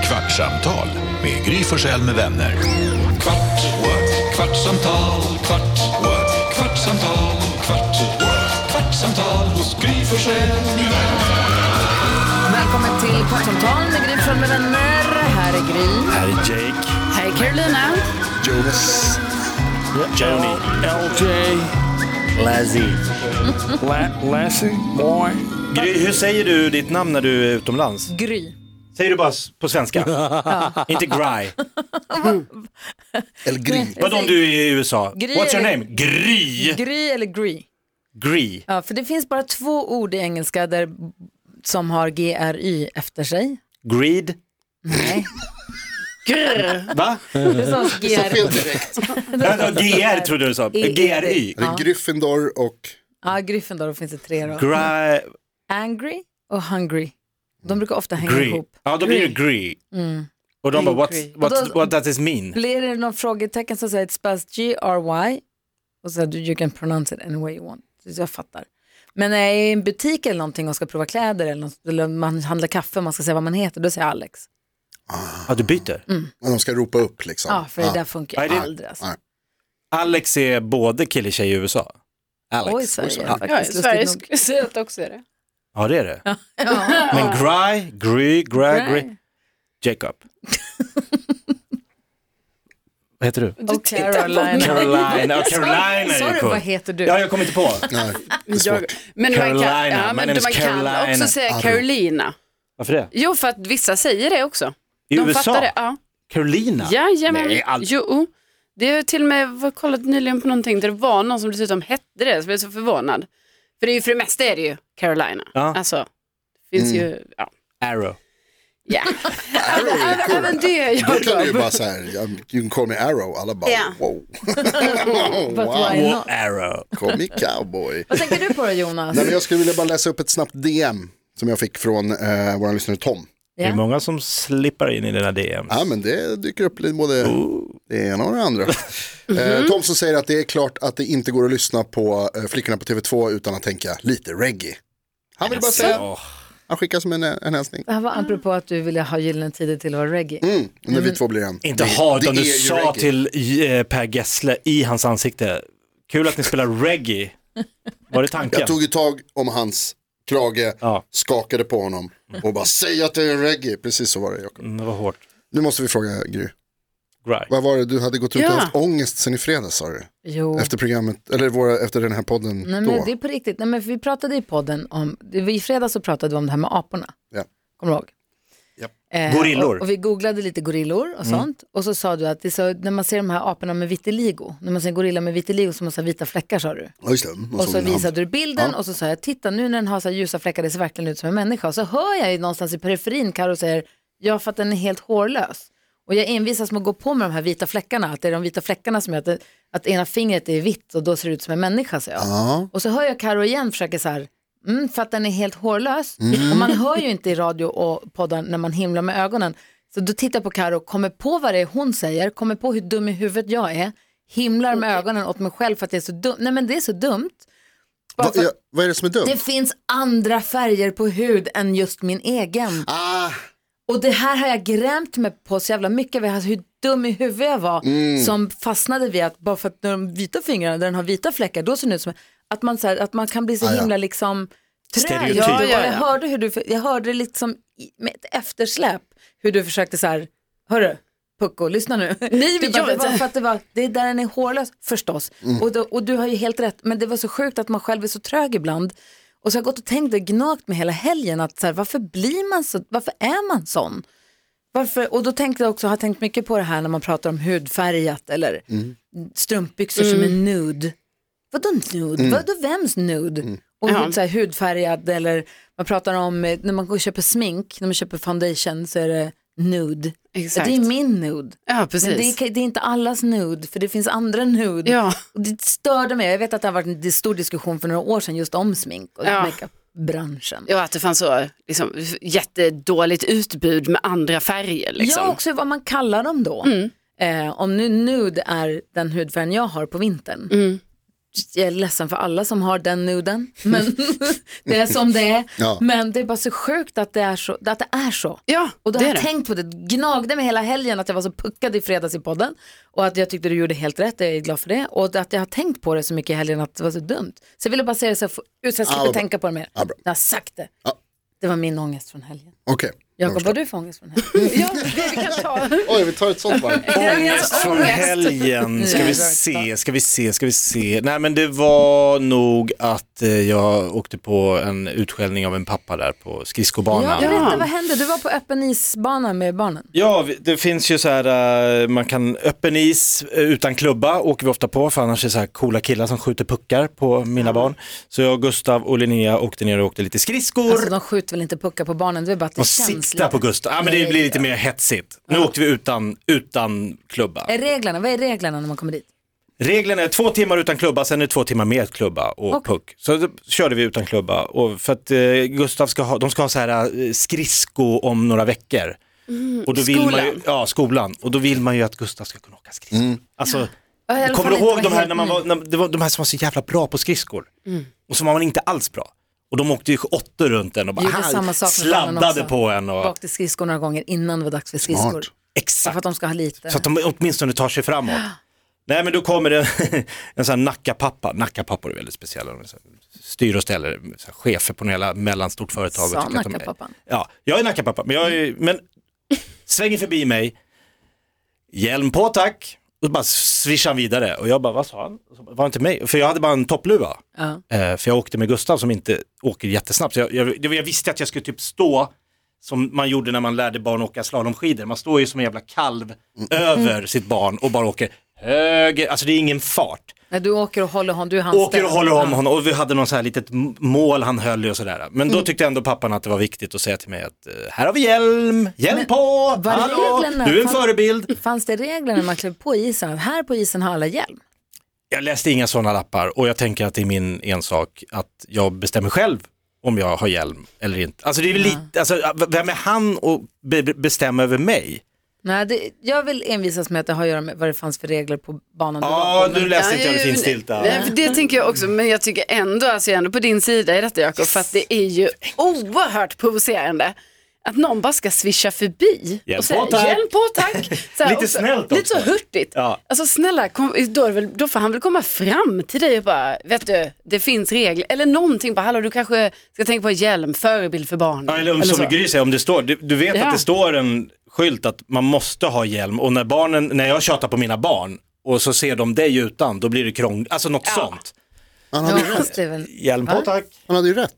kvartsamtal med Gry Forssell med vänner. Kvart, what? kvartsamtal, kvart, what? kvartsamtal, kvart, what? kvartsamtal hos Gry Forssell med vänner. Välkommen till Kvartsamtal med Gry Forssell med vänner. Här är Gry. Här är Jake. Här är Carolina. Jonas. Joni. LJ. Lazzy. La- Lazzy? Boy. Gry, hur säger du ditt namn när du är utomlands? Gry. Säger du bara s- på svenska? Inte Gry. Eller Gry. Vadå om du är i USA? Gry What's your eller- name? Gry. Gry eller Gry. Gry. Ja, för det finns bara två ord i engelska där, som har GRY efter sig. Greed. Nej. Va? Det sades GR. Fel direkt. Vänta, GR trodde du sa. E- GRY. Det är Gryffindor och Ja, Gryffindor då finns det tre då. Gry. Angry och hungry. De brukar ofta hänga Gry. ihop. Mm. Ja, då blir det Gry. Och de bara, Gry. what, Och what, då- what does this mean? Blir det någon frågetecken så säger det spells G-R-Y och så säger you can pronounce it any way you want. Så jag fattar. Men när jag är i en butik eller någonting och ska prova kläder eller, något, eller man handlar kaffe och man ska säga vad man heter, då säger jag Alex. Ja, du byter. Mm. och de ska ropa upp liksom. Ja, Ah, för det där funkar Nej, det- aldrig. Alltså. Nej. Alex är både kille och tjej i USA. Alex. Och i Sverige Ja, i faktiskt. Sverige lustigt nog. skulle säga att det också är det. Ja, det är det. Men Gry, Gry, Gry, Gry. Jacob. Vad heter du? Du Och tittar på Carolina. mig. Carolina, ja, Carolina är Sorry, ju cool. vad heter du? Ja, jag kommer inte på. Nej, det är Jag, svårt. men man Carolina, kan, ja, my men name man is kan Carolina. också säga Arr. Carolina. Varför det? Jo, för att vissa säger det också. I De USA? fattar det. Ja. Carolina? Jajamän. Nej, all... Jo, oh. det har jag till och med var- kollat nyligen på någonting där det var någon som dessutom hette det, så jag blev så förvånad. För det är ju för det mesta är det ju Carolina. Ja. Alltså, det finns ju, ja. Arrow. ja. Arrow är Även- Även cool. det är Då kan du ju jag. bara så här, "Um, you can call me Arrow, alla bara Ja. wow, But why wow, not? Arrow. call me cowboy. Vad tänker du på då Jonas? Nej, men jag skulle vilja bara läsa upp ett snabbt DM som jag fick från eh, vår lyssnare Tom. Det är Ja. många som slippar in i dina DM. Ja, men det dyker upp lite både det ena och det andra. Mhm. Eh, Tom som säger att det är klart att det inte går att lyssna på eh, Flickorna på TV2 utan att tänka lite reggae. Han vill bara säga, Åh, han skickar som en, eh, en hälsning. Det här var apropå att du ville ha Gyllene Tider till att vara reggae. Mm, när vi två blir en. Inte Det- ha, utan det du är ju sa reggae. till eh, Per Gessle i hans ansikte, kul att ni spelar reggae. Var det tanken? Jag tog ju tag om hans krage, Ja. skakade på honom och bara säg att det är reggae. Precis så var det Jakob. Mm, det var hårt. Nu måste vi fråga Gry. Gry. Vad var det, du hade gått ut Ja. och haft ångest sen i fredags sa du? Jo. Efter programmet, eller våra, efter den här podden Mm. Nej, då. men det är på riktigt. Nej, men för vi pratade i podden om, i fredags så pratade vi om det här med aporna. Ja. Kommer du ihåg? Japp. Eh, Gorillor. Och, och vi googlade lite gorillor Mm. och sånt. Och så sa du att det är så, när man ser de här aporna med vitiligo, när man ser gorilla med vitiligo så måste ha vita fläckar sa du. Ja, just det. Man Och såg så en hand. visade du bilden och så sa jag, titta nu när den har så här ljusa fläckar, det ser verkligen ut som en människa. Och så hör jag ju någonstans i periferin Karo säger, ja för att den är helt hårlös. Och jag envisas med att gå på med de här vita fläckarna, att det är de vita fläckarna som gör att, det, att ena fingret är vitt och då ser det ut som en människa, säger jag. Ja, Och så hör jag Karo igen försöka så här, mm, för att den är helt hårlös. Mm. Och man hör ju inte i radio och poddar när man himlar med ögonen. Så då tittar jag på Karo, kommer på vad det är hon säger, kommer på hur dum i huvudet jag är, himlar med ögonen åt mig själv för att det är så dumt. Nej men det är så dumt. Bara vad, för att ja, vad är det som är dumt? det finns andra färger på hud än just min egen. Ah, Och det här har jag grämt mig på så jävla mycket, alltså hur dum i huvudet jag var Mm. som fastnade vid att bara för att när de vita fingrarna, där den har vita fläckar, då ser den ut som att man, så här, att man kan bli så Ah, ja. himla liksom trä. Stereotyp. Ja, Ja, ja, ja, Jag ja. hörde hur du, jag hörde liksom i- med ett eftersläp hur du försökte så här, hörru, Pucko, lyssna nu. Nej, Du men bara, jag det vet var inte. för att det var, det är där den är hårlös förstås. Och, då, och du har ju helt rätt, men det var så sjukt att man själv är så trög ibland. Och så har jag gått och tänkt och gnagt med hela helgen att så här, varför blir man så, varför är man sån? Varför? Och då tänkte jag också, har tänkt mycket på det här när man pratar om hudfärgat eller strumpbyxor som Mm. är nude. Vadå nude? Vadå vems nude? Och Mm. Ja. så här, hudfärgad eller man pratar om eh, när man går och köper smink, när man köper foundation så är det nude. Exakt. Det är min nude. Ja, Men det, precis. är, det är inte allas nude, för det finns andra nude. Ja. Och det störde mig. Jag vet att det har varit en dis- stor diskussion för några år sedan just om smink och Ja. makeupbranschen. Ja, att det fanns så liksom, jättedåligt utbud med andra färger. Liksom. Ja, också vad man Mm. Mm. kallar dem då. Eh, om nu nude är den hudfärgen jag har på vintern, jag är ledsen för alla som har den nuden, men det är som det är. Ja. Men det är bara så sjukt att det är så. Att det är så. Ja, Och då det har är jag det. tänkt på det, gnagde mig hela helgen att jag var så puckad i fredags i podden och att jag tyckte du gjorde helt rätt, jag är glad för det. Och att jag har tänkt på det så mycket i helgen att det var så dumt. Så jag ville bara säga det så jag, får, ut så jag slipper Ja, bra. tänka på det mer. Ja, bra. jag har sagt det. Ja. Det var min ångest från helgen. Okej. Jakob, vad har du för ångest från helgen? Ja, vi kan ta. Oj, vi tar ett sånt varv. Ångest Alltså, från helgen. Ska vi se, ska vi se, ska vi se. Nej men det var nog att eh, jag åkte på en utskällning av en pappa där på Ja, skridskobanan. berätta, vad hände? Du var på öppen isbana med barnen. Ja, vi- det finns ju så här, eh, man kan öppen is eh, utan klubba, åker vi ofta på, för annars är det så här coola killar som skjuter puckar på mina barn. Så jag, Gustav och Linnea åkte ner och åkte lite skridskor. Alltså de skjuter väl inte puckar på barnen, det är bara att det och känns sikta på Gustav, ja men det Nej. blir lite mer hetsigt. Nu åkte vi utan, utan klubba. Är reglerna, vad är reglerna när man kommer dit? Reglerna är två timmar utan klubba, sen är det två timmar med klubba och Okej. puck. Så då körde vi utan klubba och för att eh, Gustav ska ha, de ska ha så här eh, skridsko om några veckor. Mm. och då vill Man ju, skolan. ja, skolan. Och då vill man ju att Gustav ska kunna åka skridsko. Alltså, Ja, i alla kommer du fall inte ihåg vara de här, helt när man ny. var, när, det var, de här som var så jävla bra på skridskor? Mm. Och som var man inte alls bra. Och de åkte ju åttor runt en och bara Gjorde "Aha", samma sak med barnen sladdade också. på en. Och, Bak till skridskor några gånger innan det var dags för skridskor. Smart. För att exakt. de ska ha lite. Så att de åtminstone tar sig framåt. Nej men då kommer det en sån här nackapappa, nackapappor är väldigt speciella, de är så här, styr och ställer, så här, chefer på några mellanstort företag. och Sa tycker att de är- nackapappan? Ja, jag är nackapappa, men, jag är, men svänger förbi mig, hjälm på tack, och så bara swishar han vidare och jag bara vad sa han? Och så bara, Var det inte mig? För jag hade bara en toppluva, Ja. Eh, för jag åkte med Gustav som inte åker jättesnabbt. Så jag, jag, det var- jag visste att jag skulle typ stå som man gjorde när man lärde barn åka slalomskidor. Man står ju som en jävla kalv Mm. över sitt barn och bara åker höger, alltså det är ingen fart. När du åker och håller honom, du är hans Åker och ställning. håller om Ja. honom och vi hade någon så här litet m- mål han höll i och sådär. Men Mm. då tyckte ändå pappan att det var viktigt att säga till mig att eh, här har vi hjälm, hjälm på, var hallå, reglerna? du är en Fan- förebild. Fanns det regler när man klev på isen? Att här på isen har alla hjälm. Jag läste inga sådana lappar och jag tänker att det är min ensak att jag bestämmer själv om jag har hjälm eller inte. Alltså, det är väl lite, alltså v- vem är han och be- be- bestämma över mig? Nej, det, jag vill envisas med att det har att göra med vad det fanns för regler på banan Ja, du var på. nu men- läste inte Ja, jag det ju- finstilta. Nej, för det tänker jag också, men jag tycker ändå, alltså jag är ändå på din sida i detta Jakob, för att det är ju oerhört provocerande. Att någon bara ska swisha förbi Hjälp och säga på, tack. hjälp på tack. Så här, Lite och så, snällt Lite så också. hurtigt. Ja. Alltså snälla, kom, då, är det väl, då får han väl komma fram till dig och bara, vet du, det finns regler. Eller någonting, bara hallå du kanske ska tänka på hjälm, förebild för barn. Ja, eller om, som Gry säger, om det står, du, du vet Ja. att det står en skylt att man måste ha hjälm och när, barnen, när jag tjatar på mina barn och så ser de dig utan, då blir det krångligt, alltså något sånt. Han hade, ju Ja, rätt. fast det är väl- Hjälm på tack. han hade ju rätt.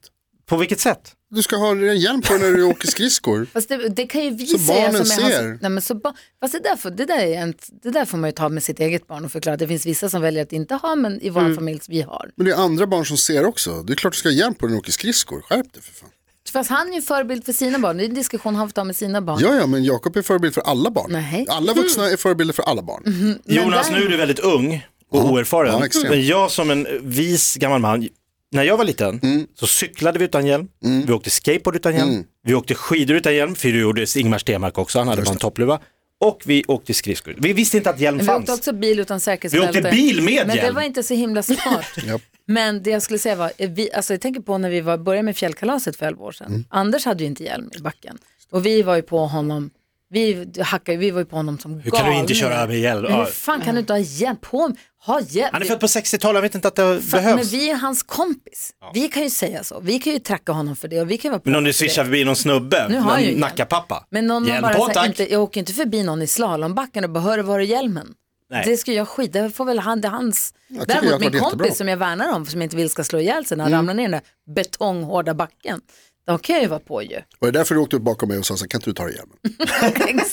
På vilket sätt? Du ska ha en hjälm på dig när du åker skridskor. Fast det, det kan ju vi Så säga barnen som är hans- ser. Nej, men så ba... Fast det där, får, det, där är en, det där får man ju ta med sitt eget barn och förklara. Det finns vissa som väljer att inte ha, men i vår Mm. familj vi har. Men det är andra barn som ser också. Det är klart du ska ha hjälm på dig när du åker skridskor. Skärp dig för fan. Fast han är ju förebild för sina barn. Det är en diskussion han får ta med sina barn. Ja, ja, men Jakob är förebild för alla barn. Nej. Mm-hmm. Alla vuxna är förebilder för alla barn. Jonas, där- nu är du väldigt ung och oerfaren. Ja, extremt. men jag som en vis gammal man, när jag var liten så cyklade vi utan hjälm, vi åkte skateboard utan hjälm, vi åkte skidor utan hjälm, för det gjorde Ingmar Stenmark också, han hade bara en toppluva. Och vi åkte skridskor. Vi visste inte att hjälm Men vi fanns. åkte också bil utan Vi säkerhetsbälte. åkte bil med Men det hjälm. var inte så himla smart. Japp. Men det jag skulle säga var, eh, vi, alltså jag tänker på när vi var, började med fjällkalaset för 11 år sedan. Mm. Anders hade ju inte hjälm i backen. Och vi var ju på honom, vi hackade, vi var ju på honom som Hur kan du inte köra med med hjälm? Hur Ja. fan kan du inte ha hjälm? På, ha hjälm? Han är född på 60-talet, han vet inte att det Fan, men behövs. vi är hans kompis. Vi kan ju säga så. Vi kan ju tracka honom för det och vi kan ju vara Men om på du för swishar det. förbi någon snubbe, Nu har jag ju någon hjälm. nackapappa. Men någon har Hjälm bara på så här, tack. inte, jag åker inte förbi någon i slalombacken och bara, hör var är hjälmen? Nej. Det skulle jag skita det får väl han, det är hans. tycker jag Däremot har min varit kompis jättebra. Mm. som jag värnar om, som jag inte vill ska slå ihjäl sig när han ramlar ner i den där betonghårda backen. De kan jag ju vara på ju. Och det är därför du åkte upp bakom mig och sa så här, kan inte du ta dig hjälmen?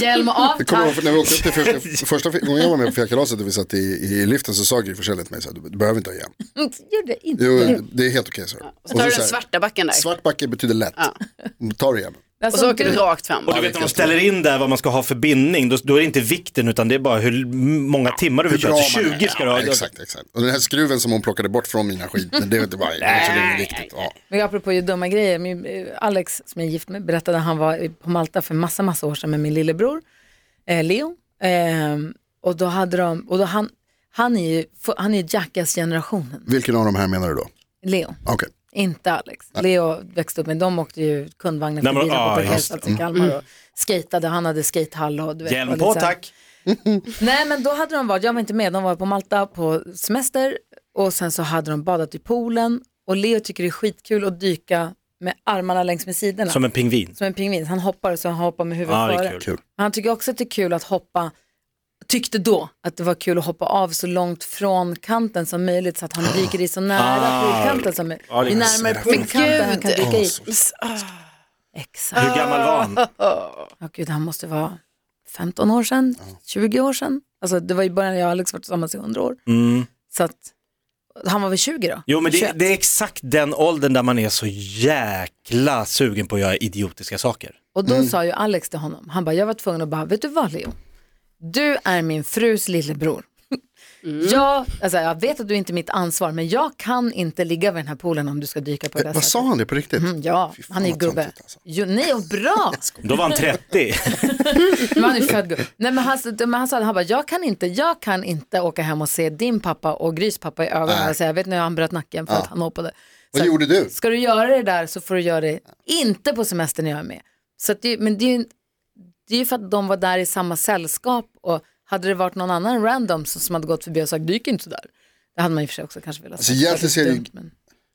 Hjälm av Jag kommer tack. ihåg när vi åkte upp till första, första gången jag var med på fjällkalaset och vi satt i, i liften så sa Gry Forssell till mig så här, du behöver inte ha hjälm. Gör det inte. Jo, det är helt okej, så. Och så tar du så den här, svarta backen där. Svart backe betyder lätt. Tar du hjälmen? Och Alltså, så åker du rakt fram. Och du vet när de ställer in där vad man ska ha för bindning, då, då är det inte vikten utan det är bara hur många timmar du vill köra. man är. 20 ska du ha. Ja, exakt, exakt. Och den här skruven som hon plockade bort från mina skidor, det är inte bara, det är viktigt. Ja. Men apropå ju dumma grejer, min, eh, Alex som jag är gift med berättade att han var på Malta för massa, Ehm, massa år sedan med min lillebror eh, Leo. Eh, och då hade de, och då han, han är ju han är Jackass-generationen. Vilken av de här menar du då? Leo, Okej. inte Alex. Leo växte upp med, de åkte ju kundvagnen Nej, men, förbi där ah, på just Parkeringsplatsen i Kalmar och skatade, han hade skatehall och du vet. Hjälm och lite på så här. tack. Nej men då hade de varit, jag var inte med, de var på Malta på semester och sen så hade de badat i poolen och Leo tycker det är skitkul att dyka med armarna längs med sidorna. Som en pingvin. som en pingvin. Han hoppar och så han hoppar med huvudet Ja, Ah, det före. är kul. Kul. Han tycker också att det är kul att hoppa, tyckte då att det var kul att hoppa av så långt från kanten som möjligt så att han dyker i så nära poolkanten som möjligt. Ah, Ja, det ju är närmare poolkanten han kan Gud. dyka i. Ah, Exakt. Hur gammal var han? Ja, gud, han måste vara 15 år sedan, 20 år sedan. Alltså det var i början, jag och Alex varit tillsammans i 100 år. Så att, han var väl 20 då? Mm. Jo men det, 21. det är exakt den åldern där man är så jäkla sugen på att göra idiotiska saker. Och Mm. då sa ju Alex till honom, han bara, jag var tvungen att bara, vet du vad Leo? Du är min frus lillebror. Jag, alltså, jag vet att du inte är mitt ansvar, men jag kan inte ligga vid den här poolen om du ska dyka på det där Eh, Vad sa han det på riktigt? Mm, Ja, Fy fan, han är vad gubbe. töntigt alltså. Jo, nej, och bra. Då var han 30. Men han är född gubbe. Nej, men han, men han sa det, han bara, jag kan inte, jag kan inte åka hem och se din pappa och Grys pappa i ögonen och säga, jag vet när han bröt nacken för att han hoppade. Vad Så- gjorde du? Ska du göra det där så får du göra det inte på semestern jag är med. Så att det, men det är, ju, det är ju för att de var där i samma sällskap och hade det varit någon annan random som, som hade gått förbi och sagt dyk inte sådär. Det hade man i och för sig också kanske velat Alltså, säga. Det egentligen var lite ser det- dumt, men-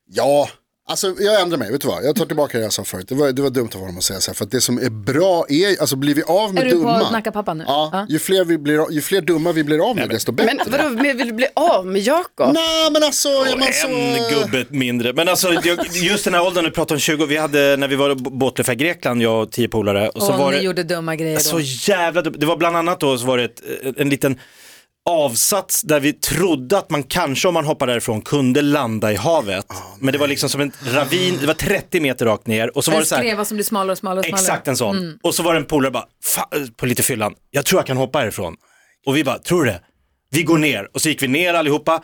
Ja, alltså jag ändrar mig, vet du vad? Jag tar tillbaka det jag sa förut. Det var, det var dumt av honom att säga så här, för att det som är bra är, alltså blir vi av med Är du på dumma. att nacka pappa nu? Ja, Ja. ju fler, vi blir, av- ju fler dumma vi blir av med, desto bättre. Men vadå, men vill du bli av med Jakob? Nej, men alltså, är man så... En gubbe mindre. Men alltså jag- just den här åldern, du pratar om 20, vi hade när vi var i båtluff i Grekland, jag och tio polare. Och så och var ni det, alltså, gjorde dumma grejer då. Så jävla dumt. Det var bland annat då så var det ett, eh, en liten avsats där vi trodde att man kanske om man hoppade därifrån kunde landa i havet. Men det var liksom som en ravin, det var 30 meter rakt ner och så var en det så här, skreva som blir smalare och smalare och smalare. exakt en sån. Mm. Och så var det en polare bara, "Fa- på lite fyllan, jag tror jag kan hoppa härifrån. Och vi bara, tror du det? Vi går ner och så gick vi ner allihopa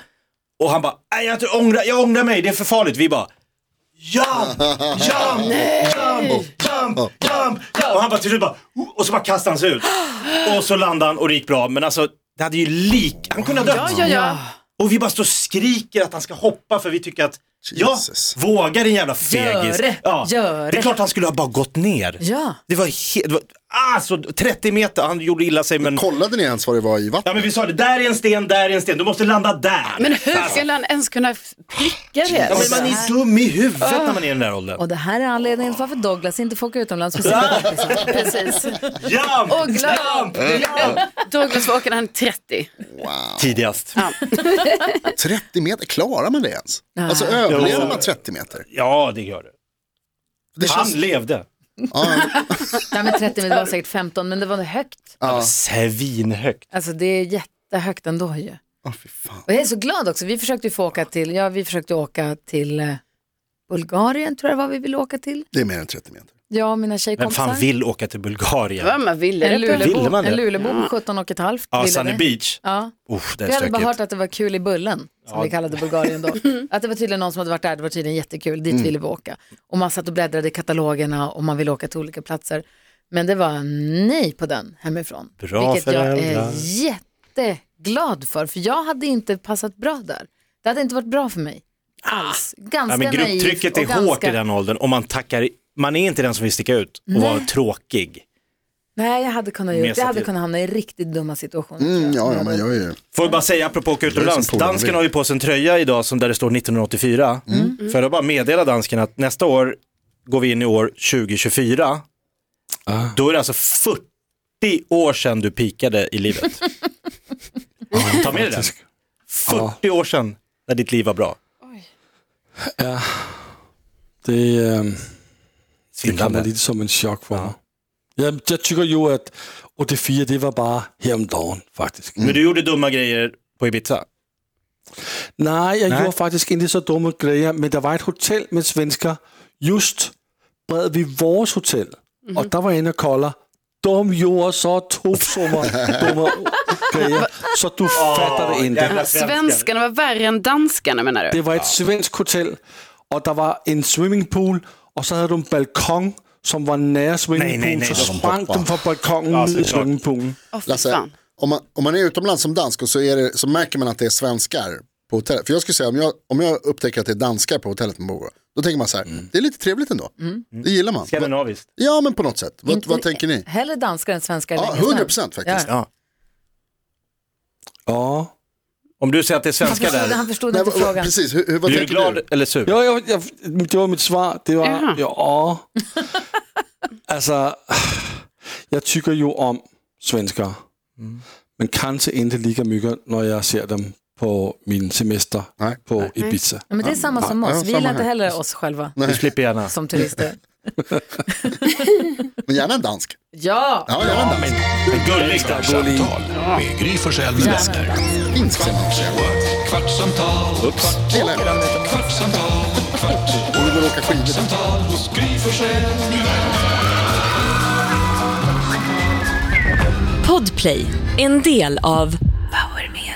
och han bara, nej jag ångrar, jag ångrar mig, det är för farligt. Vi bara, Jump, jump, jump, jump, jump, jump. Och han bara till slut bara, "Oh!" och så bara kastade han sig ut. Och så landade han och det gick bra. Men alltså, det hade ju lik, han kunde ha dött. Ja, ja, ja. Och vi bara står och skriker att han ska hoppa för vi tycker att, Jesus. ja, våga din jävla fegis. Gör det, ja. gör det är det. klart han skulle ha bara gått ner. Ja. Det var helt, det var, alltså 30 meter, han gjorde illa sig men, Kollade ni ens vad det var i vattnet? ja men vi sa det, där är en sten, där är en sten, du måste landa där. Men hur skulle han ens kunna pricka det? ja, men man är dum i huvudet när man är i den där åldern. Och det här är anledningen till varför Douglas inte får åka utomlands med sina kompisar. Alltså, Precis. Jump, Och glöm. jump, jump. Douglas var när han är 30. Tidigast. 30 meter, klarar man det ens? Alltså Jo. överlever man 30 meter? Ja, det gör det. Det Han känns... levde. Nej men 30 men det var säkert 15 men det var högt. Han var Svinhögt. Alltså det är jättehögt ändå ju. Åh, fy fan. Och jag är så glad också. Vi försökte ju få åka till, ja, vi försökte åka till eh, Bulgarien tror jag var vi ville åka till. Det är mer än 30 meter. Jag och mina Vem tjejkompisar. fan vill åka till Det var Bulgarien? man ville. En Ville Lulebo, man det? en Lulebo på 17 och ett halvt. Ja, ville Sunny det. Beach. Ja. Uff, det är Vi hade bara hört stökigt. att det var kul i bullen, som vi kallade Bulgarien då. Att det var tydligen någon som hade varit där, det var tydligen jättekul, dit Mm. ville vi åka. Och man satt och bläddrade i katalogerna och man ville åka till olika platser. Men det var nej på den hemifrån. Bra vilket jag är föräldrar. jätteglad för, för jag hade inte passat bra där. Det hade inte varit bra för mig. Alls. Ganska Ah. Ja, men naiv grupptrycket är och ganska... hårt i den åldern och man tackar, man är inte den som vill sticka ut och vara tråkig. Nej, jag hade kunnat gjort. Mesat Jag hade ut. kunnat hamna i riktigt dumma situationer. tror Mm, jag. ja, ja, men jag är ju... Får jag bara säga apropå att åka utomlands, polarna dansken vill. har ju på sig en tröja idag som där det står 1984. Mm. För jag bara meddela dansken att nästa år går vi in i år 2024. Då är det alltså 40 år sedan du pikade i livet. Ta med dig den. 40 år sedan när ditt liv var bra. Det, ehm, det Svindlande. kommer lite som en chock för mig. Jag, jag tycker ju att 84, det var bara häromdagen faktiskt. Men du gjorde dumma grejer på Ibiza. Nej, jag Nej. gjorde faktiskt inte så dumma grejer, men det var ett hotell med svenskar just bredvid vid vårt hotell. Och där var jag inne och kollade. De gjorde så toksamma dumma grejer, så du fattade inte. Svenskarna var värre än danskarna menar du? Det var ett svenskt hotell och der var en swimmingpool och så hade de en balkong som var nära swimmingpoolen, nej, så de sprang de från balkongen Ja, ned i såklart. swimmingpoolen. Åh, fy Lasse, fan. om man, om man är utomlands som dansk och så, är det, så märker man att det är svenskar på hotellet. För jag skulle säga om jag, om jag upptäcker att det är danskar på hotellet man bor på, då tänker man så här, Mm. det är lite trevligt ändå. Det gillar man. Skandinaviskt. Ja men på något sätt, vad, vad tänker ni? Hellre danskar än svenskar. i Ja, längden. 100% faktiskt. Ja. Ja. Ja. Om du säger att det är Han svenskar förstod, han där, förstod Nej, inte vad- vad- frågan. precis, hur, hur, blir vad du tänker glad du? eller sur? Jo, jo, jag, det var mitt svar. Det var, Jaha. ja. Alltså, jag tycker ju om svenskar. Men kanske inte lika mycket när jag ser dem på min semester Nej. på Ibiza. Ja, men det är samma som Ja, ja, oss. Vi samma gillar inte här. heller oss själva Du slipper gärna. som turister. Men gärna en dansk. Ja! Ja, gärna en dansk. Gulligt där. Kvartsamtal med Gry Forssell med vänner. Finsk säger man. Kvart, kvartsamtal, kvart, Gillar jag. kvartsamtal, kvart, Om du går och åka skidor. kvartsamtal hos Gry Forssell med vänner. Podplay, en del av Power Media.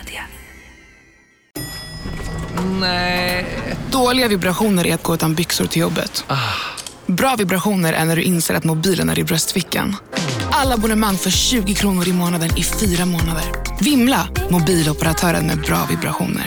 Dåliga vibrationer är att gå utan byxor till jobbet. Bra vibrationer är när du inser att mobilen är i bröstfickan. Alla abonnemang för 20 kronor i månaden i fyra månader. Vimla! Mobiloperatören med bra vibrationer.